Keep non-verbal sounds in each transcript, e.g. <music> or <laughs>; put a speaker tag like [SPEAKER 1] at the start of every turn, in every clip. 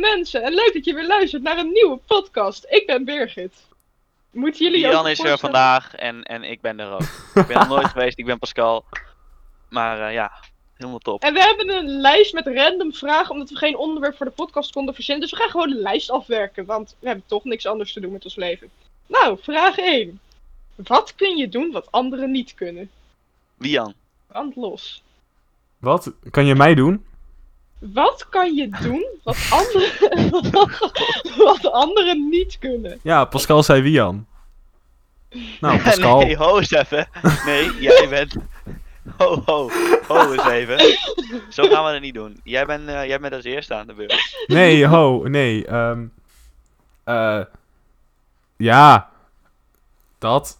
[SPEAKER 1] mensen en leuk dat je weer luistert naar een nieuwe podcast. Ik ben Birgit. Moeten jullie ook
[SPEAKER 2] Jan is er
[SPEAKER 1] voorstellen?
[SPEAKER 2] vandaag en, en ik ben er ook. Ik ben nog
[SPEAKER 1] <laughs>
[SPEAKER 2] nooit geweest, ik ben Pascal. Maar eh, ja, helemaal top.
[SPEAKER 1] En we hebben een lijst met random vragen, omdat we geen onderwerp voor de podcast konden verzinnen. Dus we gaan gewoon de lijst afwerken, want we hebben toch niks anders te doen met ons leven. Nou, vraag 1. Wat kun je doen wat anderen niet kunnen?
[SPEAKER 2] Wie Jan?
[SPEAKER 1] Brand los.
[SPEAKER 3] Wat? Kan je mij doen?
[SPEAKER 1] Wat kan je doen wat anderen, <laughs> wat anderen niet kunnen?
[SPEAKER 3] Ja, Pascal zei Wian.
[SPEAKER 1] <laughs>
[SPEAKER 3] Nou, Pascal.
[SPEAKER 2] <laughs> Nee, ho eens even. Nee,
[SPEAKER 3] <laughs>
[SPEAKER 2] jij bent... Ho, ho, ho eens even. Zo gaan we dat niet doen. Jij bent, eh, jij bent als eerste aan de beurt.
[SPEAKER 3] Nee, ho, nee. ehm, eh, ja. Dat.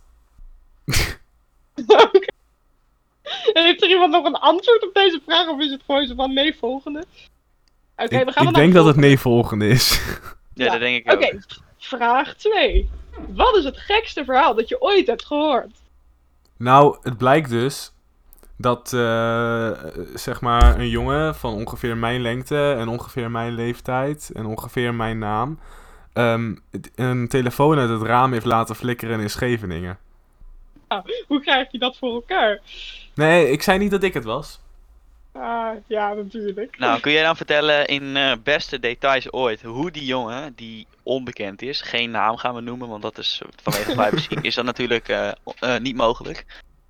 [SPEAKER 1] Heeft er iemand nog een antwoord op deze vraag? Of is het gewoon zo van nee, volgende? Oké,
[SPEAKER 3] ik
[SPEAKER 1] we gaan
[SPEAKER 3] ik
[SPEAKER 1] naar
[SPEAKER 3] denk
[SPEAKER 1] de
[SPEAKER 3] dat het nee volgende is. <laughs>
[SPEAKER 2] Ja,
[SPEAKER 1] Ja,
[SPEAKER 2] dat denk ik
[SPEAKER 1] volgende.
[SPEAKER 2] ook.
[SPEAKER 1] Oké, vraag 2. Wat is het gekste verhaal dat je ooit hebt gehoord?
[SPEAKER 3] nou, het blijkt dus dat, eh, zeg maar, een jongen van ongeveer mijn lengte en ongeveer mijn leeftijd en ongeveer mijn naam... ehm, het- een telefoon uit het raam heeft laten flikkeren in Scheveningen.
[SPEAKER 1] Hoe krijg je dat voor elkaar?
[SPEAKER 3] Nee, ik zei niet dat ik het was.
[SPEAKER 1] Ah, ja, natuurlijk.
[SPEAKER 2] Nou, kun jij dan vertellen in eh, beste details ooit hoe die jongen die onbekend is, geen naam gaan we noemen, want dat is vanwege
[SPEAKER 3] <laughs>
[SPEAKER 2] privacy, is dat natuurlijk eh, o- eh, niet mogelijk.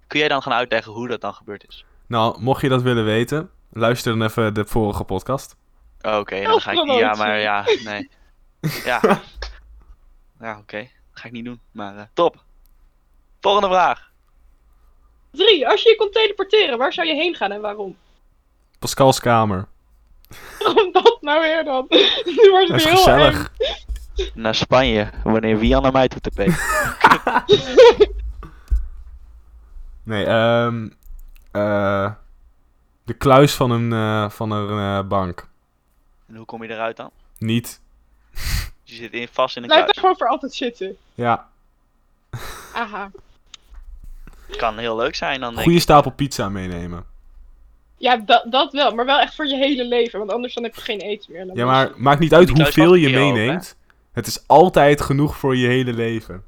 [SPEAKER 2] Kun jij dan gaan uitleggen hoe dat dan gebeurd is?
[SPEAKER 3] Nou, mocht je dat willen weten, luister dan even de vorige podcast.
[SPEAKER 2] Oh, Oké, dan ga ik. Ja,
[SPEAKER 1] Zelfpromotie.
[SPEAKER 2] maar ja, nee.
[SPEAKER 1] <laughs>
[SPEAKER 2] Ja. Ja, oké. Ga ik niet doen. Maar eh, top. Volgende vraag.
[SPEAKER 1] 3. Als je je kon teleporteren, waar zou je heen gaan en waarom? <laughs>
[SPEAKER 3] Pascal's kamer.
[SPEAKER 1] Waarom dat nou weer dan? <laughs> Nu wordt het
[SPEAKER 3] Dat is
[SPEAKER 1] heel
[SPEAKER 3] gezellig.
[SPEAKER 1] eng.
[SPEAKER 2] Naar Spanje, wanneer Wian naar mij toe te peken.
[SPEAKER 3] Nee, ehm eh, de kluis van een, eh, van een eh, bank.
[SPEAKER 2] <laughs> En hoe kom je eruit dan?
[SPEAKER 3] Niet.
[SPEAKER 2] Je zit in, vast in een
[SPEAKER 1] Blijf daar
[SPEAKER 2] kluis.
[SPEAKER 1] gewoon voor altijd zitten.
[SPEAKER 3] Ja,
[SPEAKER 1] Aha.
[SPEAKER 2] Kan heel leuk zijn dan. Denk
[SPEAKER 3] goede
[SPEAKER 2] ik.
[SPEAKER 3] stapel pizza meenemen.
[SPEAKER 1] Ja, dat, dat wel, maar wel echt voor je hele leven, want anders dan heb je geen eten meer. Dan
[SPEAKER 3] Ja,
[SPEAKER 1] was
[SPEAKER 3] maar maakt niet uit
[SPEAKER 2] Die kluis
[SPEAKER 3] hoeveel
[SPEAKER 2] mag
[SPEAKER 3] je
[SPEAKER 2] hier ook,
[SPEAKER 3] meeneemt. Het is altijd genoeg voor je hele leven.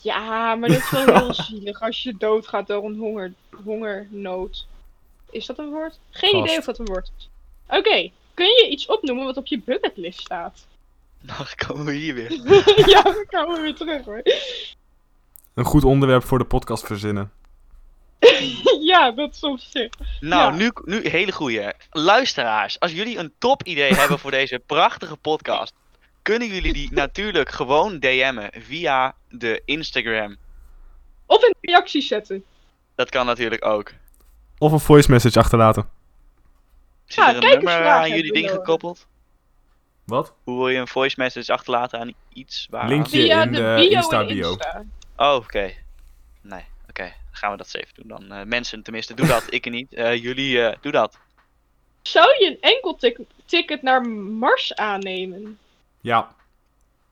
[SPEAKER 1] Ja, maar dat is wel <laughs> heel zielig als je doodgaat door een honger, hongernood. Is dat een woord? Geen
[SPEAKER 3] Vast.
[SPEAKER 1] idee of dat een woord is. Oké, kun je iets opnoemen wat op je bucketlist staat? <laughs>
[SPEAKER 2] <laughs> Dan komen we hier weer.
[SPEAKER 1] ja, dan komen we weer terug hoor. <laughs>
[SPEAKER 3] Een goed onderwerp voor de podcast verzinnen.
[SPEAKER 1] ja, dat is op zich.
[SPEAKER 2] Nou,
[SPEAKER 1] Ja.
[SPEAKER 2] nu, nu hele goeie. Luisteraars, als jullie een top idee
[SPEAKER 1] <laughs>
[SPEAKER 2] hebben voor deze prachtige podcast, kunnen jullie die natuurlijk gewoon DM'en via de Instagram.
[SPEAKER 1] Of in de reacties zetten.
[SPEAKER 2] Dat kan natuurlijk ook.
[SPEAKER 3] Of een voice message achterlaten.
[SPEAKER 2] Zit
[SPEAKER 1] Ja,
[SPEAKER 2] er een
[SPEAKER 1] kijkersvragen
[SPEAKER 2] nummer aan
[SPEAKER 1] hebben
[SPEAKER 2] jullie
[SPEAKER 1] we
[SPEAKER 2] ding
[SPEAKER 1] nodig.
[SPEAKER 2] gekoppeld?
[SPEAKER 3] Wat?
[SPEAKER 2] Hoe wil je een voice message achterlaten aan iets waar?
[SPEAKER 3] Linkje.
[SPEAKER 1] Via
[SPEAKER 3] in
[SPEAKER 1] de
[SPEAKER 3] de
[SPEAKER 1] bio en
[SPEAKER 3] Insta-bio.
[SPEAKER 1] Insta.
[SPEAKER 2] Oh, oké. Nee, oké. Dan gaan we dat eens even doen dan. Eh, mensen tenminste, doe dat. ik niet. Eh, jullie, eh doe dat.
[SPEAKER 1] Zou je een enkel tic- ticket naar Mars aannemen?
[SPEAKER 3] Ja,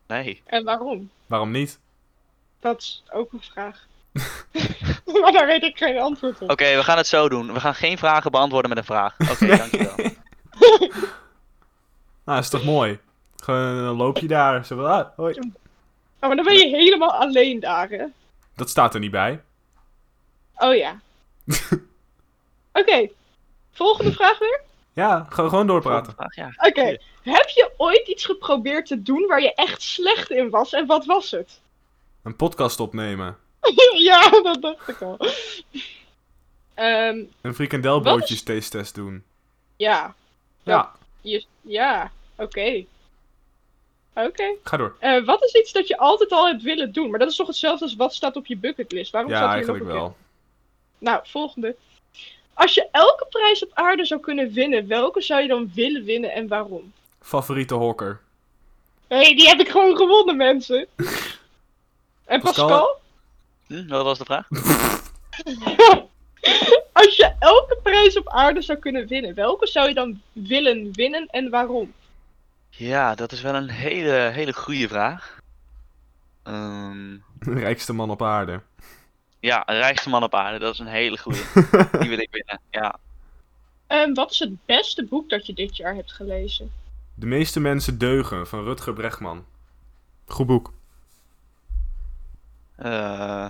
[SPEAKER 2] Nee.
[SPEAKER 1] En waarom?
[SPEAKER 3] waarom niet?
[SPEAKER 1] Dat is ook een <laughs> vraag. maar daar weet ik geen antwoord op.
[SPEAKER 2] Oké, we gaan het zo doen. We gaan geen vragen beantwoorden met een vraag. Oké,
[SPEAKER 3] <laughs>
[SPEAKER 2] dankjewel.
[SPEAKER 3] Nou, is toch mooi? Gewoon dan loop je daar. Zo, van, ah, hoi.
[SPEAKER 1] Oh, maar dan ben je helemaal alleen daar, hè?
[SPEAKER 3] Dat staat er niet bij.
[SPEAKER 1] Oh
[SPEAKER 3] <laughs>
[SPEAKER 1] ja. Oké. Volgende vraag weer?
[SPEAKER 3] Ja, gewoon gewoon doorpraten.
[SPEAKER 2] Vraag, ja.
[SPEAKER 1] Oké. Heb je ooit iets geprobeerd te doen waar je echt slecht in was en wat was het? <laughs>
[SPEAKER 3] Een podcast opnemen.
[SPEAKER 1] ja, dat dacht ik al. Ehm,
[SPEAKER 3] Een frikandelbroodjes taste-test doen.
[SPEAKER 1] ja.
[SPEAKER 3] Ja,
[SPEAKER 1] Je, ja. Oké. Oké.
[SPEAKER 3] ga door.
[SPEAKER 1] Eh, wat is iets dat je altijd al hebt willen doen? Maar dat is toch hetzelfde als wat staat op je bucketlist? Waarom
[SPEAKER 3] Ja,
[SPEAKER 1] staat hier nog
[SPEAKER 3] eigenlijk
[SPEAKER 1] een
[SPEAKER 3] wel.
[SPEAKER 1] Nou, volgende. Als je elke prijs op aarde zou kunnen winnen, welke zou je dan willen winnen en waarom?
[SPEAKER 3] Favoriete hokker. <laughs>
[SPEAKER 1] Hé, hey, die heb ik gewoon gewonnen, mensen. En
[SPEAKER 3] Pascal?
[SPEAKER 1] Pascal,
[SPEAKER 2] Hm, wat was de vraag?
[SPEAKER 1] <laughs> als je elke prijs op aarde zou kunnen winnen, welke zou je dan willen winnen en waarom?
[SPEAKER 2] Ja, dat is wel een hele, hele goede vraag. Ehm,
[SPEAKER 3] Rijkste man op aarde.
[SPEAKER 2] ja, rijkste man op aarde, dat is een hele goede. Die wil ik winnen. Ja.
[SPEAKER 1] En wat is het beste boek dat je dit jaar hebt gelezen?
[SPEAKER 3] De meeste mensen deugen van Rutger Bregman. Goed boek.
[SPEAKER 2] Eh,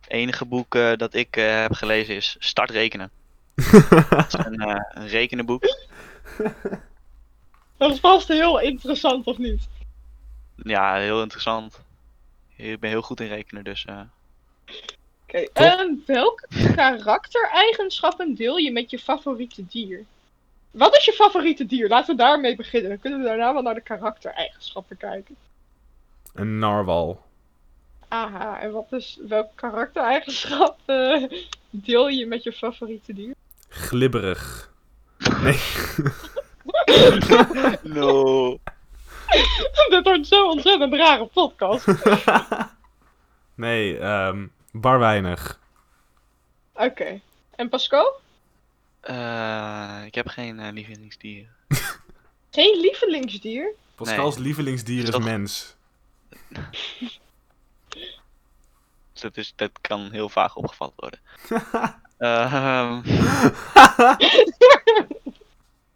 [SPEAKER 2] het enige boek eh, dat ik eh, heb gelezen is Start Rekenen. dat is een, eh, een rekenenboek.
[SPEAKER 1] Dat is vast heel interessant, of niet?
[SPEAKER 2] Ja, heel interessant. Ik ben heel goed in rekenen,
[SPEAKER 1] <laughs>
[SPEAKER 2] dus... eh,
[SPEAKER 1] Oké,
[SPEAKER 3] Top.
[SPEAKER 1] ehm, welke karaktereigenschappen deel je met je favoriete dier? Wat is je favoriete dier? Laten we daarmee beginnen. Dan kunnen we daarna wel naar de karaktereigenschappen kijken.
[SPEAKER 3] Een narwal.
[SPEAKER 1] Aha, en wat is, welk karaktereigenschap eh, deel je met je favoriete dier? <laughs>
[SPEAKER 3] Glibberig. Nee.
[SPEAKER 2] No.
[SPEAKER 1] Dit wordt zo'n ontzettend rare podcast.
[SPEAKER 2] <laughs>
[SPEAKER 1] Oké,
[SPEAKER 3] nee, ehm bar weinig.
[SPEAKER 1] en Pascal?
[SPEAKER 2] Eh, ik heb geen eh, lievelingsdieren.
[SPEAKER 1] Geen lievelingsdier?
[SPEAKER 3] Pascal's lievelingsdier is
[SPEAKER 2] Toch?
[SPEAKER 3] mens.
[SPEAKER 2] Dus dat, is, dat kan heel vaag opgevat worden. Eh, ehm,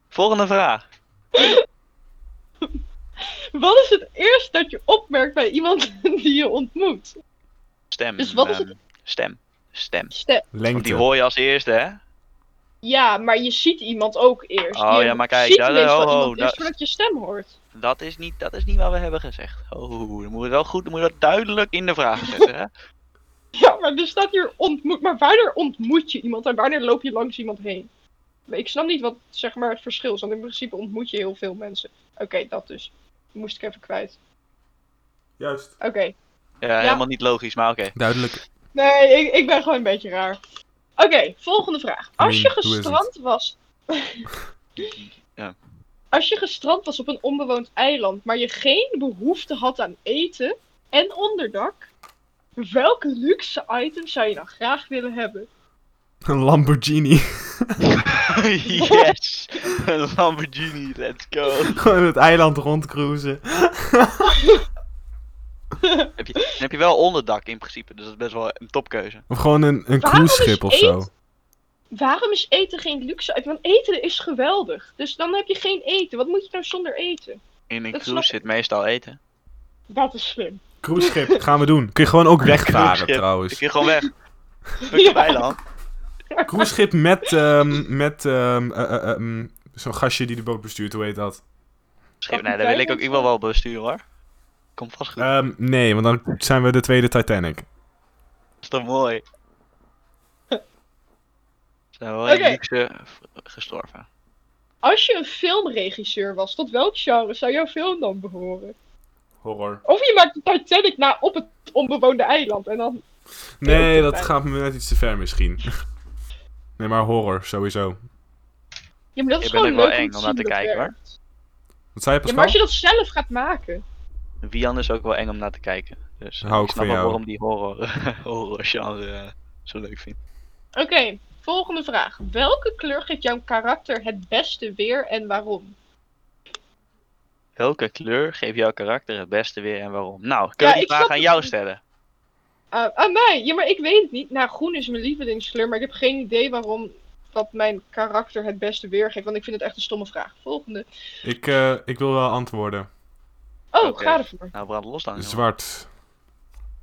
[SPEAKER 2] volgende vraag.
[SPEAKER 1] Wat is het eerst dat je opmerkt bij iemand <laughs> die je ontmoet?
[SPEAKER 2] Stem.
[SPEAKER 1] Dus wat is het-
[SPEAKER 2] ehm, Stem. Stem.
[SPEAKER 1] Ste-
[SPEAKER 2] Want die
[SPEAKER 3] Lengte.
[SPEAKER 2] hoor je als eerste, hè?
[SPEAKER 1] ja, maar je ziet iemand ook eerst.
[SPEAKER 2] Oh
[SPEAKER 1] Je
[SPEAKER 2] ja, maar kijk,
[SPEAKER 1] ziet
[SPEAKER 2] daar-
[SPEAKER 1] meestal
[SPEAKER 2] oh, oh,
[SPEAKER 1] iemand
[SPEAKER 2] daar-
[SPEAKER 1] eerst voordat je stem hoort.
[SPEAKER 2] Dat is niet, dat is niet wat we hebben gezegd. Oh, dan moet je wel goed, dan moet je dat duidelijk in de vraag zetten, hè?
[SPEAKER 1] <laughs> Ja, maar er staat hier ontmoet. Maar wanneer ontmoet je iemand en wanneer loop je langs iemand heen? Ik snap niet wat zeg maar, het verschil is, want in principe ontmoet je heel veel mensen. Oké, dat dus. Die Moest ik even kwijt.
[SPEAKER 3] Juist.
[SPEAKER 1] Oké.
[SPEAKER 2] Ja, helemaal niet logisch, maar oké.
[SPEAKER 3] <laughs> Duidelijk.
[SPEAKER 1] Nee, ik, ik ben gewoon een beetje raar. Oké, volgende vraag. Als je
[SPEAKER 3] Mien, hoe is het?
[SPEAKER 1] gestrand was.
[SPEAKER 2] Ja.
[SPEAKER 1] Als je gestrand was op een onbewoond eiland, maar je geen behoefte had aan eten en onderdak, welk luxe item zou je dan graag willen hebben?
[SPEAKER 3] Een Lamborghini. <laughs>
[SPEAKER 2] yes! Een Lamborghini, let's go.
[SPEAKER 3] Gewoon het eiland rondcruisen.
[SPEAKER 2] heb, je, dan heb je wel onderdak in principe, dus dat is best wel een topkeuze.
[SPEAKER 3] Of gewoon een, een
[SPEAKER 1] Waarom is
[SPEAKER 3] cruiseschip of zo.
[SPEAKER 1] Waarom is eten geen luxe item? Want eten is geweldig. Dus dan heb je geen eten. Wat moet je nou zonder eten?
[SPEAKER 2] In een
[SPEAKER 1] Dat
[SPEAKER 2] cruise
[SPEAKER 1] snap
[SPEAKER 2] zit meestal eten.
[SPEAKER 1] Dat is slim.
[SPEAKER 3] Cruiseschip, gaan we doen. Kun
[SPEAKER 2] <laughs>
[SPEAKER 3] je gewoon ook wegvaren
[SPEAKER 2] Cruiseschip. Ik
[SPEAKER 3] trouwens.
[SPEAKER 2] kun gewoon weg. Fuck het eiland.
[SPEAKER 3] Cruiseschip met, ehm, met ehm, eh, eh, eh, mm, zo'n gastje die de boot bestuurt, hoe heet dat?
[SPEAKER 2] Schip, nee, dat wil ik ook ik wil wel besturen hoor. Komt vast goed.
[SPEAKER 3] Ehm, nee, want dan zijn we de tweede Titanic.
[SPEAKER 2] Dat is toch mooi. Ze zijn wel in
[SPEAKER 1] Oké.
[SPEAKER 2] luxe gestorven.
[SPEAKER 1] Als je een filmregisseur was, tot welk genre zou jouw film dan behoren?
[SPEAKER 3] Horror.
[SPEAKER 1] Of je maakt de Titanic na op het onbewoonde eiland en dan...
[SPEAKER 3] Nee,
[SPEAKER 1] Heel
[SPEAKER 3] dat
[SPEAKER 1] Titanic.
[SPEAKER 3] gaat me net iets te ver misschien. <laughs> Nee, maar horror, sowieso.
[SPEAKER 1] Ja, maar dat is
[SPEAKER 2] Ik ben ook
[SPEAKER 1] gewoon
[SPEAKER 2] wel
[SPEAKER 1] leuk om
[SPEAKER 2] eng om naar te kijken hoor.
[SPEAKER 3] Wat zei je,
[SPEAKER 1] Ja, maar
[SPEAKER 3] Pascal?
[SPEAKER 1] als je dat zelf gaat maken...
[SPEAKER 2] Wian is ook wel eng om naar te kijken. Dus eh,
[SPEAKER 3] Hou
[SPEAKER 2] ik
[SPEAKER 3] ik
[SPEAKER 2] snap wel
[SPEAKER 3] van jou.
[SPEAKER 2] waarom die horror, <laughs> horror genre eh, zo leuk vindt.
[SPEAKER 1] Oké, volgende vraag. Welke kleur geeft jouw karakter het beste weer en waarom?
[SPEAKER 2] Welke kleur geeft jouw karakter het beste weer en waarom? Nou, kun je
[SPEAKER 1] Ja,
[SPEAKER 2] die
[SPEAKER 1] ik
[SPEAKER 2] vraag
[SPEAKER 1] snap
[SPEAKER 2] aan
[SPEAKER 1] het
[SPEAKER 2] jou
[SPEAKER 1] niet.
[SPEAKER 2] stellen?
[SPEAKER 1] Ah, aan mij? Ja, maar ik weet het niet. Nou, groen is mijn lievelingskleur, maar ik heb geen idee waarom dat mijn karakter het beste weer geeft. Want ik vind het echt een stomme vraag. Volgende.
[SPEAKER 3] Ik, eh, ik wil wel antwoorden.
[SPEAKER 1] Oh,
[SPEAKER 2] Oké.
[SPEAKER 1] ga ervoor.
[SPEAKER 2] Nou, brand los dan. Ah, jongen.
[SPEAKER 3] Zwart.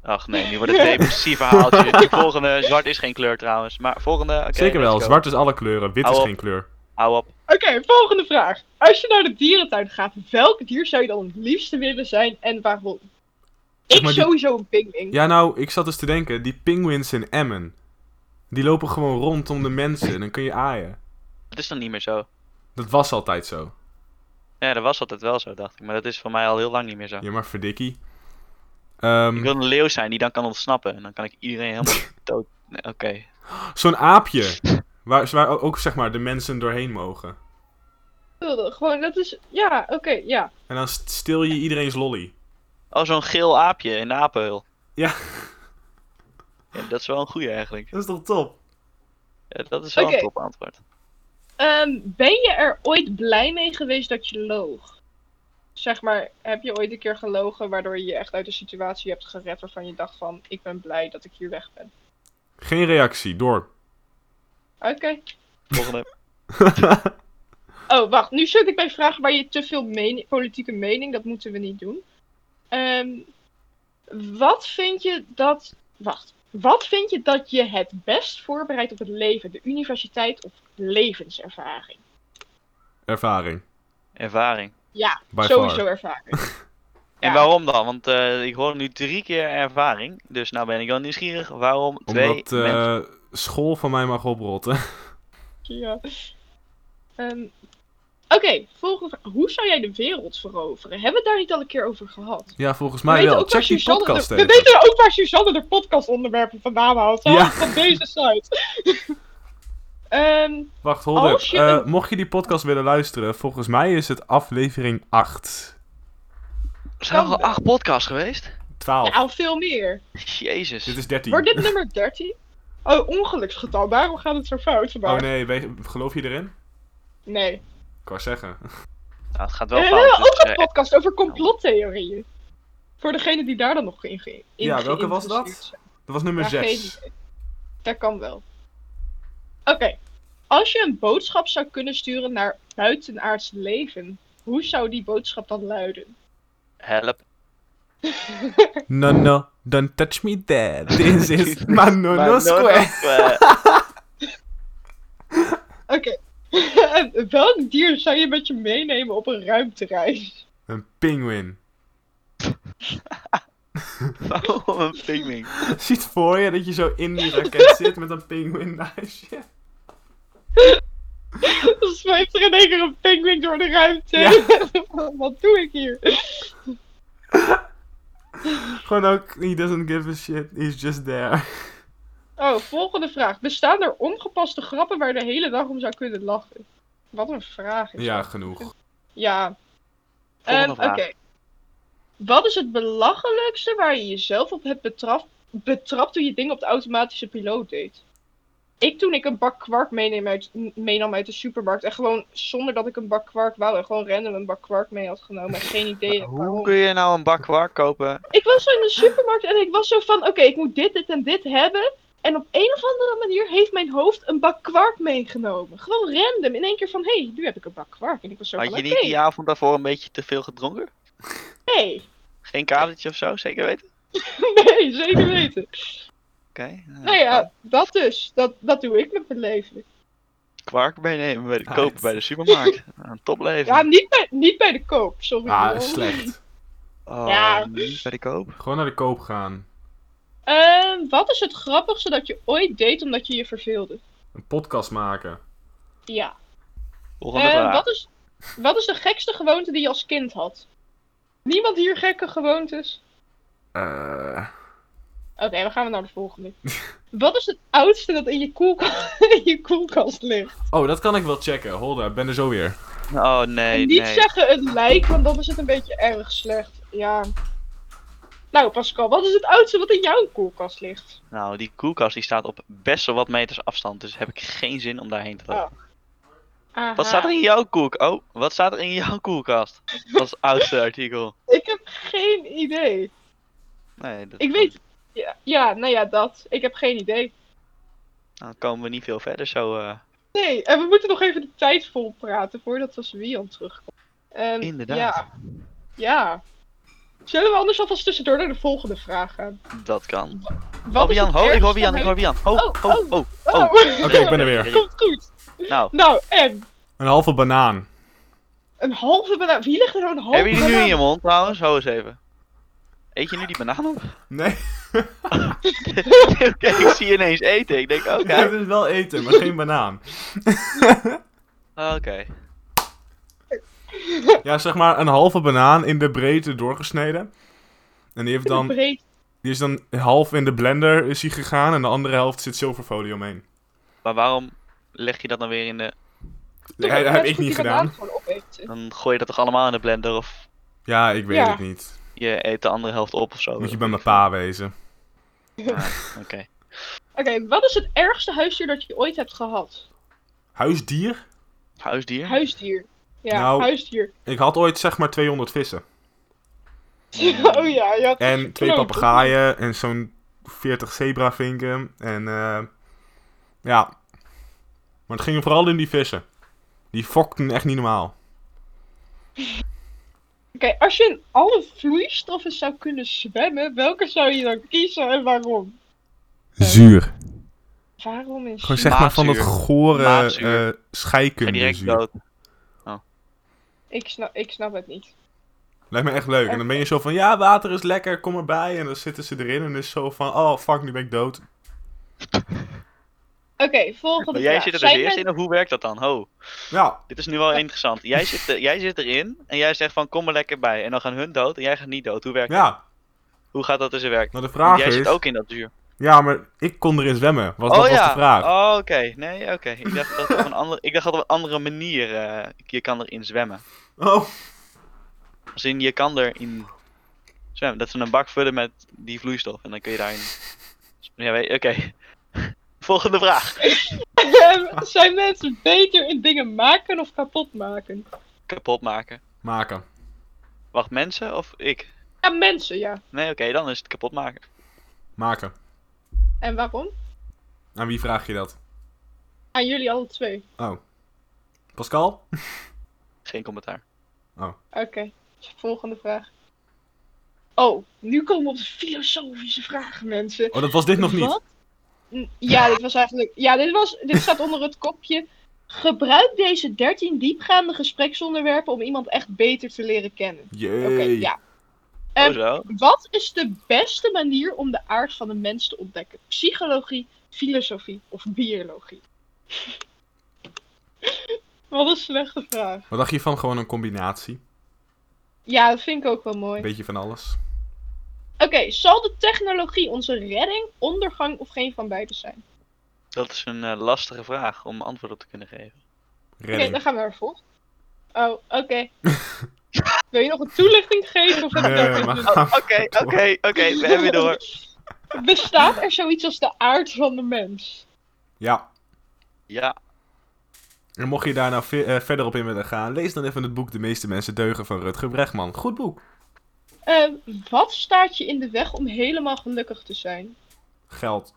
[SPEAKER 2] Ach nee,
[SPEAKER 1] <laughs>
[SPEAKER 2] nu wordt het een depressief verhaaltje. volgende, zwart is geen kleur trouwens. Maar volgende, oké.
[SPEAKER 3] Zeker wel,
[SPEAKER 2] let's go.
[SPEAKER 3] zwart is alle kleuren, wit
[SPEAKER 2] Hou
[SPEAKER 3] is
[SPEAKER 2] op.
[SPEAKER 3] geen kleur.
[SPEAKER 2] Hou op.
[SPEAKER 1] Oké, volgende vraag. Als je naar de dierentuin gaat, welk dier zou je dan het liefste willen zijn en waarom?
[SPEAKER 3] Zeg
[SPEAKER 1] Ik
[SPEAKER 3] maar die-
[SPEAKER 1] sowieso een pinguïn.
[SPEAKER 3] Ja, nou, ik zat dus te denken, die penguins in Emmen, die lopen gewoon rondom de mensen en dan kun je aaien.
[SPEAKER 2] Dat is dan niet meer zo.
[SPEAKER 3] Dat was altijd zo.
[SPEAKER 2] Ja, dat was altijd wel zo, dacht ik. Maar dat is voor mij al heel lang niet meer zo.
[SPEAKER 3] Ja, maar verdikkie. Ehm,
[SPEAKER 2] Ik wil een leeuw zijn die dan kan ontsnappen. En dan kan ik iedereen
[SPEAKER 3] <laughs>
[SPEAKER 2] helemaal dood... Nee, Oké.
[SPEAKER 3] Zo'n aapje, waar, waar ook zeg maar de mensen doorheen mogen.
[SPEAKER 1] Wilde, Gewoon, dat is. Ja, oké, ja.
[SPEAKER 3] En dan st- stil je iedereen's lolly.
[SPEAKER 2] Oh, zo'n geel aapje in de apenhul.
[SPEAKER 3] Ja, <laughs>
[SPEAKER 2] Ja, dat is wel een goeie eigenlijk.
[SPEAKER 3] dat is toch top?
[SPEAKER 2] Ja, dat is wel
[SPEAKER 1] Oké.
[SPEAKER 2] een top antwoord.
[SPEAKER 1] Ehm, ben je er ooit blij mee geweest dat je loog? Zeg maar, heb je ooit een keer gelogen waardoor je je echt uit een situatie hebt gered waarvan je dacht van, ik ben blij dat ik hier weg ben?
[SPEAKER 3] Geen reactie, door.
[SPEAKER 1] Oké.
[SPEAKER 2] Volgende.
[SPEAKER 1] Oh, wacht. Nu zit ik bij vragen waar je te veel meni- politieke mening. Dat moeten we niet doen. Ehm, wat vind je dat. Wacht. Wat vind je dat je het best voorbereidt op het leven? De universiteit of levenservaring?
[SPEAKER 3] <laughs> Ervaring.
[SPEAKER 2] <laughs> Ervaring.
[SPEAKER 3] By
[SPEAKER 1] Sowieso
[SPEAKER 3] far. <laughs>
[SPEAKER 1] ervaring.
[SPEAKER 2] En
[SPEAKER 1] Ja.
[SPEAKER 2] waarom dan? Want eh, ik hoor nu drie keer ervaring. Dus nou ben ik wel nieuwsgierig waarom twee
[SPEAKER 3] Omdat eh,
[SPEAKER 2] mensen...
[SPEAKER 3] school van mij mag oprotten. <laughs>
[SPEAKER 1] Ja. Ehm, Oké, volgende vraag. Hoe zou jij de wereld veroveren? Hebben we het daar niet al een keer over gehad?
[SPEAKER 3] ja, volgens
[SPEAKER 1] We
[SPEAKER 3] mij
[SPEAKER 1] weten
[SPEAKER 3] wel.
[SPEAKER 1] ook waar
[SPEAKER 3] Check die
[SPEAKER 1] Suzanne
[SPEAKER 3] podcast
[SPEAKER 1] de-
[SPEAKER 3] even.
[SPEAKER 1] We weten ook waar Suzanne de podcastonderwerpen vandaan haalt. Ze
[SPEAKER 3] Ja.
[SPEAKER 1] haalt het Van deze site. <laughs> Ehm,
[SPEAKER 3] Wacht, hold up.
[SPEAKER 1] Als je
[SPEAKER 3] Eh,
[SPEAKER 1] een-
[SPEAKER 3] mocht je die podcast willen luisteren, volgens mij is het aflevering 8.
[SPEAKER 2] Zijn er
[SPEAKER 1] kan
[SPEAKER 2] al
[SPEAKER 1] wel.
[SPEAKER 2] acht podcasts geweest?
[SPEAKER 3] 12.
[SPEAKER 1] nou, veel meer.
[SPEAKER 2] Jezus.
[SPEAKER 3] Dit is 13.
[SPEAKER 1] Wordt dit nummer 13? Oh, ongeluksgetal. Daarom gaat het zo fout vandaag.
[SPEAKER 3] Oh nee, we- geloof je erin?
[SPEAKER 1] Nee.
[SPEAKER 3] Ik wou zeggen. <laughs>
[SPEAKER 2] Nou, het gaat
[SPEAKER 1] We
[SPEAKER 2] wel
[SPEAKER 1] hebben
[SPEAKER 2] fout. dus,
[SPEAKER 1] ook een
[SPEAKER 2] eh,
[SPEAKER 1] podcast over complottheorieën. Voor degene die daar dan nog in ge- in
[SPEAKER 3] Ja, welke was dat?
[SPEAKER 1] geïnteresseerd zijn.
[SPEAKER 3] Dat was nummer
[SPEAKER 1] Ja,
[SPEAKER 3] 6.
[SPEAKER 1] geen idee. Dat kan wel. Oké. Als je een boodschap zou kunnen sturen naar buitenaards leven, hoe zou die boodschap dan luiden?
[SPEAKER 2] help.
[SPEAKER 3] No, no, don't touch me there.
[SPEAKER 2] <laughs>
[SPEAKER 3] This is Manono
[SPEAKER 2] Maar no,
[SPEAKER 3] Square.
[SPEAKER 2] no, eh,
[SPEAKER 1] Oké. <laughs> Welk dier zou je met je meenemen op een ruimtereis? <laughs>
[SPEAKER 3] Een pinguïn.
[SPEAKER 2] <laughs> Waarom een pingwing?
[SPEAKER 3] <laughs> Ziet voor je dat je zo in die
[SPEAKER 1] <laughs>
[SPEAKER 3] raket zit met een pinguïn naast je.
[SPEAKER 1] Dan zweeft er in één keer een penguin door de ruimte. <laughs> Wat doe ik hier?
[SPEAKER 3] Gewoon ook, he doesn't give a shit, he's just there. <laughs>
[SPEAKER 1] Oh, volgende vraag. Bestaan er ongepaste grappen waar je de hele dag om zou kunnen lachen? Wat een vraag. Is
[SPEAKER 3] Ja,
[SPEAKER 1] dat.
[SPEAKER 3] genoeg.
[SPEAKER 1] Ja.
[SPEAKER 2] Volgende
[SPEAKER 1] Ehm,
[SPEAKER 2] vraag.
[SPEAKER 1] Oké. Wat is het belachelijkste waar je jezelf op hebt betraf- betrapt toen je dingen op de automatische piloot deed? Ik toen ik een bak kwark meeneem uit, m- meenam uit de supermarkt. En gewoon zonder dat ik een bak kwark wou. En gewoon random een bak kwark mee had genomen.
[SPEAKER 2] <laughs>
[SPEAKER 1] En geen idee
[SPEAKER 2] Hoe
[SPEAKER 1] waarom.
[SPEAKER 2] kun je nou een bak kwark kopen?
[SPEAKER 1] Ik was zo in de supermarkt en ik was zo van... Oké, ik moet dit, dit en dit hebben. En op een of andere manier heeft mijn hoofd een bak kwark meegenomen. Gewoon random. In één keer van... Hé, hey, nu heb ik een bak kwark. En ik was zo
[SPEAKER 2] Had
[SPEAKER 1] van...
[SPEAKER 2] je
[SPEAKER 1] Oké,
[SPEAKER 2] niet die avond daarvoor een beetje te veel gedronken?
[SPEAKER 1] nee.
[SPEAKER 2] Geen kadertje of zo, zeker weten?
[SPEAKER 1] <laughs> Nee, zeker weten.
[SPEAKER 2] Oké. nou,
[SPEAKER 1] Nou ja, dat dus. Dat, dat doe ik met mijn leven.
[SPEAKER 2] Kwark meenemen, bij de,
[SPEAKER 3] Right.
[SPEAKER 2] kopen bij de supermarkt. Een topleven.
[SPEAKER 1] Ja, niet bij, niet bij de koop, sorry.
[SPEAKER 3] Ah,
[SPEAKER 1] hoor.
[SPEAKER 3] slecht.
[SPEAKER 2] Oh,
[SPEAKER 1] Ja.
[SPEAKER 2] niet bij de koop.
[SPEAKER 3] Gewoon naar de koop gaan.
[SPEAKER 1] Ehm, wat is het grappigste dat je ooit deed omdat je je verveelde?
[SPEAKER 3] Een podcast maken.
[SPEAKER 1] Ja.
[SPEAKER 2] Volgende
[SPEAKER 1] Ehm,
[SPEAKER 2] vraag.
[SPEAKER 1] wat, is, wat is de gekste gewoonte die je als kind had? Niemand hier gekke gewoontes?
[SPEAKER 3] Eh,
[SPEAKER 1] Oké, dan gaan we naar de volgende. wat is het oudste dat in je, koelka- <laughs> in je koelkast ligt?
[SPEAKER 3] Oh, dat kan ik wel checken. Hold up, ben er zo weer.
[SPEAKER 2] Oh nee,
[SPEAKER 1] en niet
[SPEAKER 2] nee.
[SPEAKER 1] zeggen het lijk, want dan is het een beetje erg slecht. Ja. Nou, Pascal, wat is het oudste wat in jouw koelkast ligt?
[SPEAKER 2] Nou, die koelkast die staat op best wel wat meters afstand, dus heb ik geen zin om daarheen te lopen.
[SPEAKER 1] Ah.
[SPEAKER 2] Wat staat er in jouw koelk? Oh, wat staat er in jouw koelkast? Dat is het oudste artikel.
[SPEAKER 1] Ik heb geen idee.
[SPEAKER 2] Nee, dat,
[SPEAKER 1] Ik weet. Ja, ja, nou ja, dat. Ik heb geen idee.
[SPEAKER 2] Dan komen we niet veel verder zo. eh.
[SPEAKER 1] Nee, en we moeten nog even de tijd vol praten voordat Wian terugkomt. Ehm,
[SPEAKER 2] Inderdaad.
[SPEAKER 1] Ja. ja. Zullen we anders alvast tussendoor naar de volgende vraag gaan?
[SPEAKER 2] Dat kan.
[SPEAKER 1] Wat
[SPEAKER 2] Oh,
[SPEAKER 1] is
[SPEAKER 2] Jan,
[SPEAKER 1] het
[SPEAKER 2] ho, ik hoor
[SPEAKER 1] ergste
[SPEAKER 2] Jan, ik hoor Jan. Ho, ho,
[SPEAKER 1] Oh,
[SPEAKER 2] ho, ho.
[SPEAKER 1] aan-
[SPEAKER 2] Oh,
[SPEAKER 1] Oh,
[SPEAKER 3] Oké, ik ben er weer.
[SPEAKER 1] <laughs> Komt goed.
[SPEAKER 2] Nou,
[SPEAKER 1] Nou, en
[SPEAKER 3] Een halve banaan.
[SPEAKER 1] een halve banaan. Wie legt er nou een halve
[SPEAKER 2] hebben jullie nu in je
[SPEAKER 1] banaan?
[SPEAKER 2] mond trouwens? Hou eens even. Eet je nu die banaan op?
[SPEAKER 3] <laughs> Nee,
[SPEAKER 2] <laughs> Oké, ik zie je ineens eten. Ik denk, oh, oké.
[SPEAKER 3] <laughs> het is wel eten, maar geen banaan.
[SPEAKER 2] Ah, Oké.
[SPEAKER 3] Ja, zeg maar een halve banaan in de breedte doorgesneden. En die, heeft dan,
[SPEAKER 1] Breed.
[SPEAKER 3] die is dan half in de blender is die gegaan en de andere helft zit zilverfolie omheen.
[SPEAKER 2] Maar waarom leg je dat dan weer in de...
[SPEAKER 3] Dat heb ik niet
[SPEAKER 1] Die banaan
[SPEAKER 3] gedaan.
[SPEAKER 1] gewoon opeten.
[SPEAKER 2] Dan gooi je dat toch allemaal in de blender of
[SPEAKER 3] Ja, ik weet
[SPEAKER 1] Ja.
[SPEAKER 3] het niet.
[SPEAKER 2] je eet de andere helft op of zo?
[SPEAKER 3] Moet je bij mijn pa wezen.
[SPEAKER 2] Oké.
[SPEAKER 1] Oké, wat is het ergste huisdier dat je ooit hebt gehad?
[SPEAKER 3] Huisdier?
[SPEAKER 2] Huisdier?
[SPEAKER 1] Huisdier. Ja,
[SPEAKER 3] Nou,
[SPEAKER 1] huisdier. <laughs>
[SPEAKER 3] Ik had ooit zeg maar 200 vissen.
[SPEAKER 1] oh ja, ja.
[SPEAKER 3] En twee
[SPEAKER 1] Oh,
[SPEAKER 3] papegaaien en zo'n 40 zebravinken. En eh, ja. Maar het ging vooral in die vissen. Die fokten echt niet normaal.
[SPEAKER 1] Oké, als je in alle vloeistoffen zou kunnen zwemmen, welke zou je dan kiezen en waarom?
[SPEAKER 3] Zuur.
[SPEAKER 1] Waarom is
[SPEAKER 3] Gewoon zeg maar van dat
[SPEAKER 2] Maagzuur.
[SPEAKER 3] gore
[SPEAKER 2] Maagzuur.
[SPEAKER 3] eh
[SPEAKER 2] Ik ga
[SPEAKER 3] scheikunde
[SPEAKER 2] direct
[SPEAKER 3] zuur.
[SPEAKER 2] dood.
[SPEAKER 1] ik, snap, ik snap het niet.
[SPEAKER 3] Lijkt me echt leuk. En dan ben je zo van, ja, water is lekker, kom erbij. En dan zitten ze erin en is zo van, oh fuck, nu ben ik dood.
[SPEAKER 1] Oké, volgende
[SPEAKER 2] Maar <laughs> jij
[SPEAKER 1] vraag.
[SPEAKER 2] zit er dus
[SPEAKER 1] Zijn
[SPEAKER 2] eerst
[SPEAKER 1] er-
[SPEAKER 2] in, of hoe werkt dat dan? Ho,
[SPEAKER 3] Ja,
[SPEAKER 2] dit is nu wel interessant. Jij zit, er- jij zit erin en jij zegt van kom er lekker bij. En dan gaan hun dood en jij gaat niet dood. Hoe werkt dat?
[SPEAKER 3] ja.
[SPEAKER 2] Hoe gaat dat in zijn werk?
[SPEAKER 3] Maar de
[SPEAKER 2] Want
[SPEAKER 3] vraag
[SPEAKER 2] jij
[SPEAKER 3] is...
[SPEAKER 2] zit ook in dat zuur.
[SPEAKER 3] Ja, maar ik kon erin zwemmen. Was, dat was de vraag.
[SPEAKER 2] Oh, oké. Nee, oké. Ik dacht dat op een andere, ik dacht dat op een andere manier eh, je kan erin zwemmen.
[SPEAKER 3] Oh.
[SPEAKER 2] Als in je kan erin zwemmen. Dat ze een bak vullen met die vloeistof en dan kun je daarin. Ja, weet- oké. <laughs> Volgende vraag.
[SPEAKER 1] Ehm, <laughs> zijn mensen beter in dingen maken of kapot maken?
[SPEAKER 2] Kapot maken.
[SPEAKER 3] Maken.
[SPEAKER 2] Wacht, mensen of ik?
[SPEAKER 1] Ja, mensen, ja.
[SPEAKER 2] Nee, oké, dan is het kapot maken.
[SPEAKER 3] Maken.
[SPEAKER 1] En waarom?
[SPEAKER 3] Aan wie vraag je dat?
[SPEAKER 1] Aan jullie alle twee.
[SPEAKER 3] Oh. Pascal?
[SPEAKER 2] Geen commentaar.
[SPEAKER 1] Oké, volgende vraag. Oh, nu komen we op de filosofische vragen, mensen.
[SPEAKER 3] Oh, dat was dit <laughs> nog niet.
[SPEAKER 1] Wat? N- Ja, dit was eigenlijk. Ja, dit, was, dit staat onder het kopje. Gebruik deze 13 diepgaande gespreksonderwerpen om iemand echt beter te leren kennen.
[SPEAKER 3] Jee.
[SPEAKER 1] Oké, ja.
[SPEAKER 2] Oh,
[SPEAKER 1] Ehm,
[SPEAKER 2] zo.
[SPEAKER 1] Wat is de beste manier om de aard van de mens te ontdekken? Psychologie, filosofie of biologie? <laughs> Wat een slechte vraag.
[SPEAKER 3] Wat dacht je van gewoon een combinatie?
[SPEAKER 1] Ja, dat vind ik ook wel
[SPEAKER 3] Een
[SPEAKER 1] mooi.
[SPEAKER 3] beetje van alles.
[SPEAKER 1] Oké, zal de technologie onze redding, ondergang of geen van beide zijn?
[SPEAKER 2] Dat is een eh, lastige vraag om antwoord op te kunnen geven.
[SPEAKER 1] Oké,
[SPEAKER 3] Redding.
[SPEAKER 1] dan gaan we naar de volgende. Oh, oké. <laughs> Wil je nog een toelichting geven? Of heb ik <laughs> dat
[SPEAKER 3] Nee,
[SPEAKER 1] even
[SPEAKER 3] maar
[SPEAKER 1] doen?
[SPEAKER 3] ga <laughs>
[SPEAKER 2] Oké, oké, oké, we hebben
[SPEAKER 1] <laughs>
[SPEAKER 2] je door.
[SPEAKER 1] Bestaat er zoiets als de aard van de mens?
[SPEAKER 3] Ja.
[SPEAKER 2] Ja,
[SPEAKER 3] En mocht je daar nou ve- eh, verder op in willen gaan, lees dan even het boek De meeste mensen deugen van Rutger Bregman. Goed boek.
[SPEAKER 1] Eh, wat staat je in de weg om helemaal gelukkig te zijn?
[SPEAKER 3] Geld.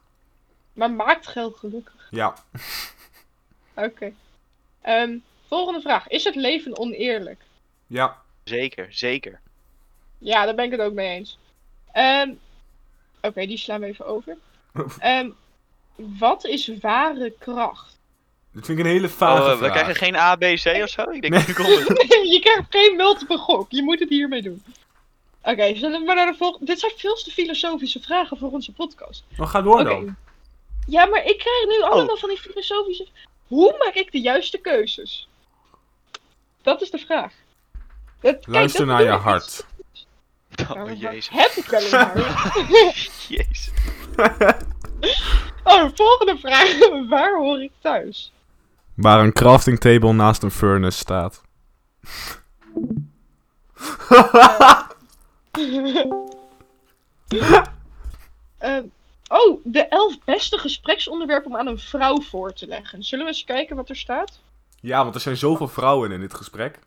[SPEAKER 1] Maar maakt geld gelukkig?
[SPEAKER 3] Ja.
[SPEAKER 1] Oké. Ehm, volgende vraag. Is het leven oneerlijk?
[SPEAKER 3] Ja.
[SPEAKER 2] zeker, zeker.
[SPEAKER 1] Ja, daar ben ik het ook mee eens. Ehm, Oké, die slaan we even
[SPEAKER 2] <laughs>
[SPEAKER 1] over. Ehm, wat is ware kracht?
[SPEAKER 3] Dit vind ik een hele
[SPEAKER 2] Oh,
[SPEAKER 3] vage
[SPEAKER 2] eh, we
[SPEAKER 3] vraag.
[SPEAKER 2] krijgen geen A, B, C of zo? Ik denk,
[SPEAKER 3] Nee.
[SPEAKER 2] nu komt het.
[SPEAKER 3] <laughs>
[SPEAKER 1] <laughs> je krijgt geen multiple gok. Je moet het hiermee doen. Oké, zullen we maar naar de volgende. Dit zijn veel te filosofische vragen voor onze podcast.
[SPEAKER 3] Oh, ga door
[SPEAKER 1] Oké.
[SPEAKER 3] dan. Oh.
[SPEAKER 1] Ja, maar ik krijg nu allemaal van die filosofische. Hoe maak ik de juiste keuzes? Dat is de vraag. Dat, kijk,
[SPEAKER 3] Luister
[SPEAKER 1] dat
[SPEAKER 3] naar je
[SPEAKER 1] bedoel ik.
[SPEAKER 3] hart.
[SPEAKER 1] Nou,
[SPEAKER 2] Oh,
[SPEAKER 1] wat
[SPEAKER 2] jezus.
[SPEAKER 1] Heb ik wel een hart?
[SPEAKER 3] <laughs>
[SPEAKER 2] Jezus.
[SPEAKER 1] Oh, volgende vraag. <laughs> Waar hoor ik thuis?
[SPEAKER 3] Waar een crafting table naast een furnace staat.
[SPEAKER 1] Ehm, oh, de elf beste gespreksonderwerpen om aan een vrouw voor te leggen. Zullen we eens kijken wat er staat?
[SPEAKER 3] Ja, want er zijn zoveel vrouwen in dit gesprek.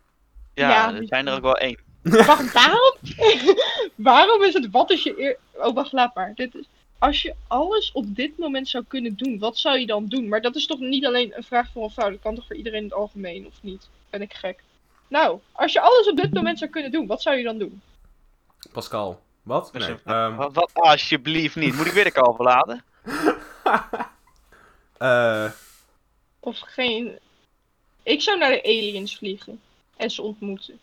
[SPEAKER 2] Ja,
[SPEAKER 1] Ja,
[SPEAKER 2] er
[SPEAKER 1] die-
[SPEAKER 2] zijn er ook wel één.
[SPEAKER 1] Wacht, waarom? <laughs> waarom is het wat is je eer... Oh, wacht, laat maar. Dit is... Als je alles op dit moment zou kunnen doen, wat zou je dan doen? Maar dat is toch niet alleen een vraag voor een vrouw, dat kan toch voor iedereen in het algemeen, of niet? Ben ik gek. Nou, als je alles op dit moment zou kunnen doen, wat zou je dan doen?
[SPEAKER 3] Pascal. Wat?
[SPEAKER 2] Dus
[SPEAKER 3] Nee.
[SPEAKER 2] een-
[SPEAKER 3] ehm,
[SPEAKER 2] Wat, wat? Alsjeblieft niet. Moet ik weer de kalf verlaten?
[SPEAKER 3] eh,
[SPEAKER 1] Of geen... Ik zou naar de aliens vliegen. En ze ontmoeten.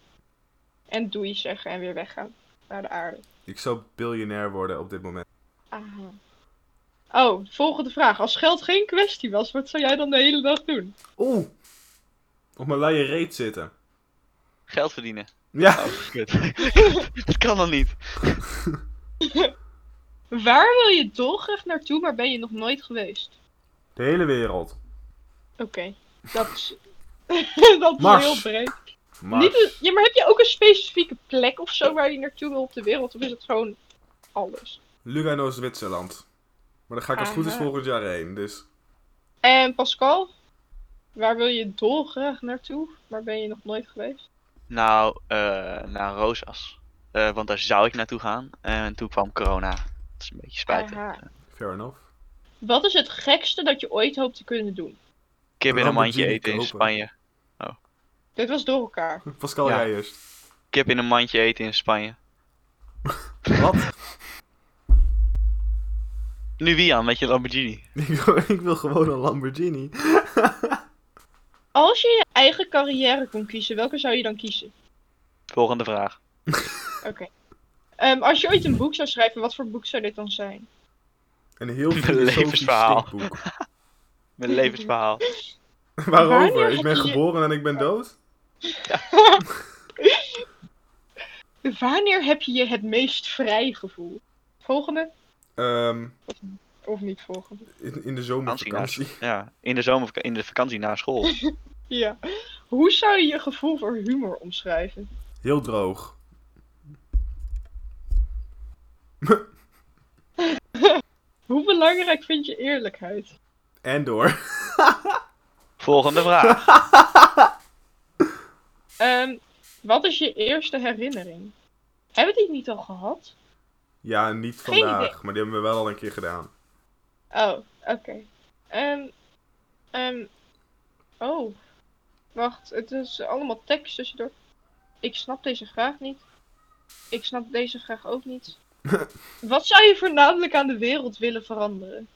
[SPEAKER 1] En doei zeggen en weer weggaan. Naar de aarde.
[SPEAKER 3] ik zou biljonair worden op dit moment.
[SPEAKER 1] Aha. Oh, volgende vraag. Als geld geen kwestie was, wat zou jij dan de hele dag doen?
[SPEAKER 3] Oeh. Op mijn luie reet zitten.
[SPEAKER 2] Geld verdienen.
[SPEAKER 3] Ja.
[SPEAKER 2] Oh, kut.
[SPEAKER 3] <laughs>
[SPEAKER 2] dat kan dan niet.
[SPEAKER 1] Waar wil je dolgraag naartoe, maar ben je nog nooit geweest?
[SPEAKER 3] De hele wereld.
[SPEAKER 1] Oké, dat is, <laughs> dat is
[SPEAKER 3] Mars.
[SPEAKER 1] heel breed. Niet een-
[SPEAKER 3] Mars.
[SPEAKER 1] ja, maar heb je ook een specifieke plek of zo waar je naartoe wil op de wereld? Of is het gewoon alles?
[SPEAKER 3] Lugano, Zwitserland. Maar daar ga ik als het goed is
[SPEAKER 1] Aha.
[SPEAKER 3] volgend jaar heen. Dus
[SPEAKER 1] En Pascal, waar wil je dolgraag naartoe, maar ben je nog nooit geweest?
[SPEAKER 2] Nou, eh naar Rosas. Eh, want daar zou ik naartoe gaan. En toen kwam corona. Dat is een beetje spijtig.
[SPEAKER 1] Aha.
[SPEAKER 3] fair enough. <laughs>
[SPEAKER 1] Wat is het gekste dat je ooit hoopt te kunnen doen?
[SPEAKER 2] Kip in een mandje
[SPEAKER 3] Lamborghini
[SPEAKER 2] eten in
[SPEAKER 3] kopen.
[SPEAKER 2] Spanje. Oh.
[SPEAKER 1] Dit was door elkaar.
[SPEAKER 3] Pascal,
[SPEAKER 2] Ja.
[SPEAKER 3] jij eerst.
[SPEAKER 2] Kip in een mandje eten in Spanje.
[SPEAKER 3] Wat?
[SPEAKER 2] Nu wie aan met je Lamborghini?
[SPEAKER 3] <laughs> ik, wil, ik wil gewoon een Lamborghini.
[SPEAKER 1] Als je je eigen carrière kon kiezen, welke zou je dan kiezen?
[SPEAKER 2] Volgende vraag.
[SPEAKER 1] Oké. Ehm, als je ooit een boek zou schrijven, wat voor boek zou dit dan zijn?
[SPEAKER 3] Een heel
[SPEAKER 2] Mijn
[SPEAKER 3] filosofisch
[SPEAKER 2] levensverhaal.
[SPEAKER 3] stinkboek.
[SPEAKER 2] Mijn
[SPEAKER 1] <laughs>
[SPEAKER 2] levensverhaal.
[SPEAKER 1] Wanneer
[SPEAKER 3] <laughs> Waarover? Ik ben
[SPEAKER 1] heb je-
[SPEAKER 3] geboren en ik ben dood?
[SPEAKER 1] Wanneer heb je je het meest vrij gevoeld? Volgende
[SPEAKER 3] Ehm,
[SPEAKER 1] of niet volgende?
[SPEAKER 3] in, in de
[SPEAKER 2] Vakantie.
[SPEAKER 3] zomervakantie.
[SPEAKER 2] Ja, in de zomer, in de vakantie na school.
[SPEAKER 1] Ja. Hoe zou je je gevoel voor humor omschrijven?
[SPEAKER 3] <laughs> Heel droog.
[SPEAKER 1] Hoe belangrijk vind je eerlijkheid?
[SPEAKER 3] En door. <laughs>
[SPEAKER 2] Volgende
[SPEAKER 1] <laughs>
[SPEAKER 2] vraag.
[SPEAKER 1] Ehm, wat is je eerste herinnering? Hebben we die niet al gehad?
[SPEAKER 3] Ja, niet
[SPEAKER 1] Geen idee.
[SPEAKER 3] vandaag, maar die hebben we wel al een keer gedaan.
[SPEAKER 1] Oh, oké. Ehm, ehm, oh, wacht. Het is allemaal tekst tussendoor. Ik snap deze graag niet. Ik snap deze graag ook niet. Wat zou je voornamelijk aan de wereld willen veranderen?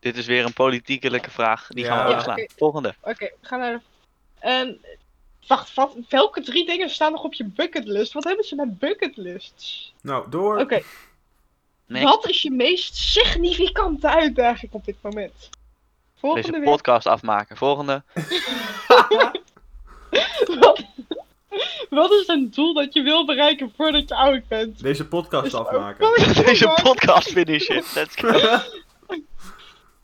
[SPEAKER 2] Dit is weer een politiekelijke vraag. Die gaan we
[SPEAKER 3] Ja.
[SPEAKER 2] overslaan.
[SPEAKER 1] Oké.
[SPEAKER 2] Volgende.
[SPEAKER 1] Oké, we gaan naar de... Ehm, wacht, wat, welke drie dingen staan nog op je bucketlist? Wat hebben ze met bucketlists?
[SPEAKER 3] Nou, door.
[SPEAKER 1] Oké,
[SPEAKER 2] Nee,
[SPEAKER 1] wat is je meest significante uitdaging op dit moment? Volgende
[SPEAKER 2] deze
[SPEAKER 1] weer.
[SPEAKER 2] podcast afmaken.
[SPEAKER 1] <laughs>
[SPEAKER 2] Volgende.
[SPEAKER 1] Wat, wat is een doel dat je wil bereiken voordat je oud bent?
[SPEAKER 3] Deze podcast
[SPEAKER 1] Is ook
[SPEAKER 3] afmaken.
[SPEAKER 1] nooit
[SPEAKER 2] <laughs> Deze
[SPEAKER 1] gemaakt.
[SPEAKER 2] podcast finishen. Let's
[SPEAKER 3] <laughs>
[SPEAKER 2] go.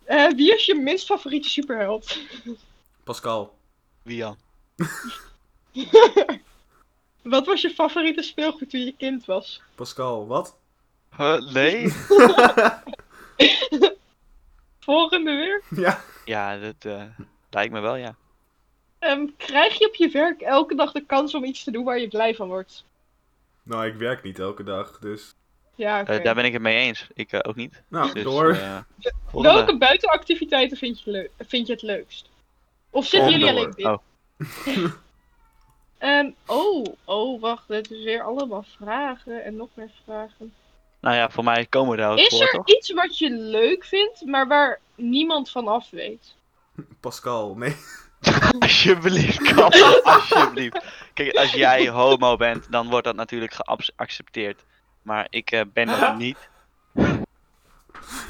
[SPEAKER 1] Eh, wie is je minst favoriete superheld?
[SPEAKER 3] Pascal.
[SPEAKER 2] Wie aan?
[SPEAKER 1] Wat was je favoriete speelgoed toen je kind was?
[SPEAKER 3] Pascal, wat? <laughs>
[SPEAKER 2] Huh, nee?
[SPEAKER 1] Volgende weer.
[SPEAKER 3] Ja.
[SPEAKER 2] Ja, dat eh, lijkt me wel, ja.
[SPEAKER 1] Ehm, krijg je op je werk elke dag de kans om iets te doen waar je blij van wordt?
[SPEAKER 3] Nou, ik werk niet elke dag, dus.
[SPEAKER 1] Ja,
[SPEAKER 2] Eh,
[SPEAKER 1] oké.
[SPEAKER 2] daar ben ik het mee eens. Ik eh, ook niet.
[SPEAKER 3] Nou,
[SPEAKER 2] Dus,
[SPEAKER 3] door.
[SPEAKER 2] eh, volgende.
[SPEAKER 1] Welke buitenactiviteiten vind je, leuk- vind je het leukst? Of zitten jullie alleen
[SPEAKER 3] Onderhoor.
[SPEAKER 1] binnen?
[SPEAKER 2] oh.
[SPEAKER 1] <laughs> Ehm, oh, oh, wacht. Het is weer allemaal vragen en nog meer vragen.
[SPEAKER 2] Nou ja, voor mij komen we daar ook
[SPEAKER 1] Is
[SPEAKER 2] voor,
[SPEAKER 1] er
[SPEAKER 2] toch? <laughs>
[SPEAKER 1] iets wat je leuk vindt, maar waar niemand van af weet?
[SPEAKER 3] Pascal, nee. <laughs>
[SPEAKER 2] Alsjeblieft,
[SPEAKER 1] <laughs>
[SPEAKER 2] Kat. Alsjeblieft. Kijk, als jij homo bent, dan wordt dat natuurlijk geaccepteerd. Maar ik eh, ben
[SPEAKER 3] <laughs>
[SPEAKER 2] dat niet.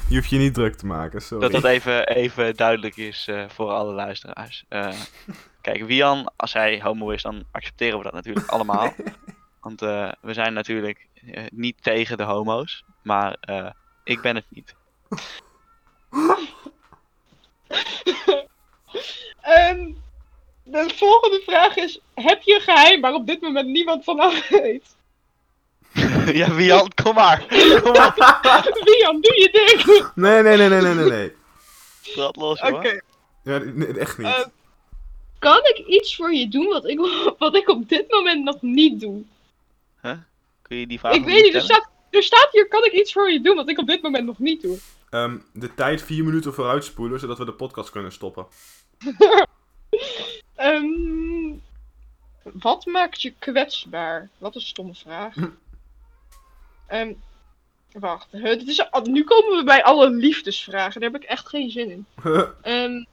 [SPEAKER 3] Je hoeft je niet druk te maken, sorry.
[SPEAKER 2] Dat dat even, even duidelijk is eh, voor alle luisteraars. Eh, kijk, Wian, als hij homo is, dan accepteren we dat natuurlijk
[SPEAKER 3] <laughs>
[SPEAKER 2] allemaal. Want eh, we zijn natuurlijk eh, niet tegen de homo's. Maar eh, ik ben het niet.
[SPEAKER 1] Ehm, de volgende vraag is: heb je een geheim waar op dit moment niemand van af weet? <laughs>
[SPEAKER 2] <laughs> ja, Wian, kom maar. Kom maar.
[SPEAKER 1] Wian, doe je ding!
[SPEAKER 3] Nee, nee, nee, nee, nee, nee. nee.
[SPEAKER 2] Trad los,
[SPEAKER 1] Oké.
[SPEAKER 2] hoor.
[SPEAKER 3] Ja, nee, echt niet.
[SPEAKER 1] Eh, Kan ik iets voor je doen wat ik, wat ik op dit moment nog niet doe?
[SPEAKER 2] Kun je die vraag
[SPEAKER 1] ik weet niet, er staat, er staat hier: kan ik iets voor je doen wat ik op dit moment nog niet doe?
[SPEAKER 3] Ehm, de tijd vier minuten vooruit spoelen, zodat we de podcast kunnen stoppen.
[SPEAKER 1] Ehm, wat maakt je kwetsbaar? Wat een stomme vraag. Ehm, wacht, hè, dit is, nu komen we bij alle liefdesvragen. Daar heb ik echt geen zin in. Ehm,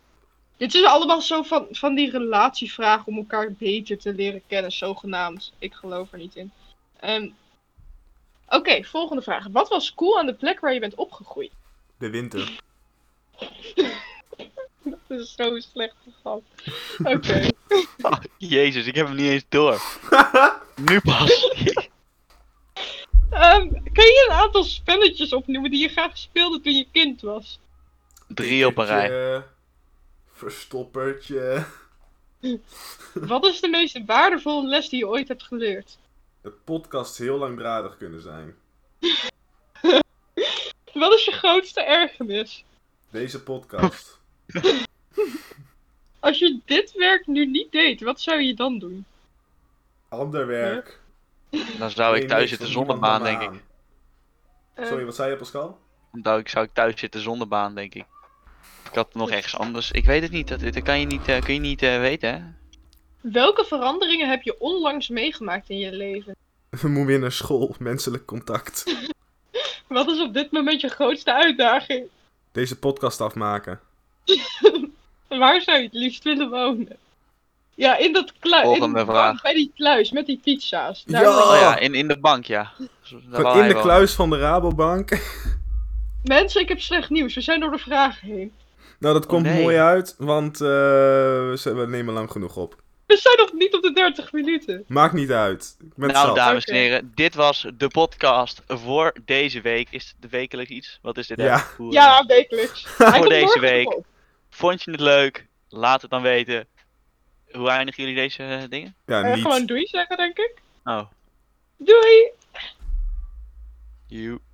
[SPEAKER 1] dit is allemaal zo van, van die relatievragen om elkaar beter te leren kennen, zogenaamd. Ik geloof er niet in. Ehm, Oké, volgende vraag. Wat was cool aan de plek waar je bent opgegroeid?
[SPEAKER 3] de winter.
[SPEAKER 1] Dat is zo slecht gegaan. <laughs> Oké.
[SPEAKER 2] Oh, Jezus, ik heb hem niet eens
[SPEAKER 1] <laughs>
[SPEAKER 2] door. nu pas.
[SPEAKER 1] Ehm, kun je een aantal spelletjes opnoemen die je graag speelde toen je kind was?
[SPEAKER 2] Drie op een rij.
[SPEAKER 3] Tikkertje, Verstoppertje.
[SPEAKER 1] Wat is de meest waardevolle les die je ooit hebt geleerd?
[SPEAKER 3] De podcast heel langdradig kunnen zijn.
[SPEAKER 1] Wat is je grootste ergernis?
[SPEAKER 3] Deze
[SPEAKER 2] <laughs>
[SPEAKER 3] podcast.
[SPEAKER 1] Als je dit werk nu niet deed, wat zou je dan doen?
[SPEAKER 3] Ander werk.
[SPEAKER 2] Dan zou ik
[SPEAKER 3] eh, Nee,
[SPEAKER 2] thuis
[SPEAKER 3] niks,
[SPEAKER 2] zitten
[SPEAKER 3] want
[SPEAKER 2] zonder
[SPEAKER 3] niemand
[SPEAKER 2] baan,
[SPEAKER 3] nam me
[SPEAKER 2] denk ik.
[SPEAKER 3] aan.
[SPEAKER 1] Ehm,
[SPEAKER 3] Sorry, wat zei je, Pascal? <laughs>
[SPEAKER 2] Dan zou ik- zou ik thuis zitten zonder baan, denk ik. Of Ik had nog ergens anders. Ik weet het niet. Dat, dat kan je niet, eh, kun je niet eh, weten, hè?
[SPEAKER 1] Welke veranderingen heb je onlangs meegemaakt in je leven?
[SPEAKER 3] We moeten weer naar school, menselijk contact.
[SPEAKER 1] Wat is op dit moment je grootste uitdaging?
[SPEAKER 3] Deze podcast afmaken.
[SPEAKER 1] Waar zou je het liefst willen wonen? Ja, in dat kluis.
[SPEAKER 2] Volgende vraag.
[SPEAKER 1] Bij die kluis met die pizza's. Daar
[SPEAKER 3] Ja!
[SPEAKER 1] word
[SPEAKER 2] Oh
[SPEAKER 1] je-
[SPEAKER 2] ja, in, in de bank, ja. Daar wou
[SPEAKER 3] Gewoon in
[SPEAKER 2] hij
[SPEAKER 3] de
[SPEAKER 2] wel.
[SPEAKER 3] kluis van de Rabobank. <laughs>
[SPEAKER 1] Mensen, ik heb slecht nieuws. We zijn door de vragen heen.
[SPEAKER 3] Nou, dat komt
[SPEAKER 2] Oh, nee.
[SPEAKER 3] mooi uit, want eh, we z- we nemen lang genoeg op.
[SPEAKER 1] We zijn nog niet op de 30 minuten.
[SPEAKER 3] Maakt niet uit. Ik ben
[SPEAKER 2] Nou,
[SPEAKER 3] zat.
[SPEAKER 2] dames
[SPEAKER 1] Oké.
[SPEAKER 2] en heren, dit was de podcast voor deze week. Is het wekelijks iets? Wat is dit?
[SPEAKER 3] Ja.
[SPEAKER 2] eigenlijk? Hoe, eh,
[SPEAKER 1] Ja, wekelijks.
[SPEAKER 2] <laughs>
[SPEAKER 1] Hij komt
[SPEAKER 2] deze
[SPEAKER 1] morgen
[SPEAKER 2] week.
[SPEAKER 1] nog op.
[SPEAKER 2] Vond je het leuk? Laat het dan weten. Hoe eindigen jullie deze eh, dingen?
[SPEAKER 3] Ja,
[SPEAKER 1] Eh,
[SPEAKER 3] niet.
[SPEAKER 1] gewoon doei zeggen, denk ik.
[SPEAKER 2] Oh,
[SPEAKER 1] Doei!
[SPEAKER 2] you.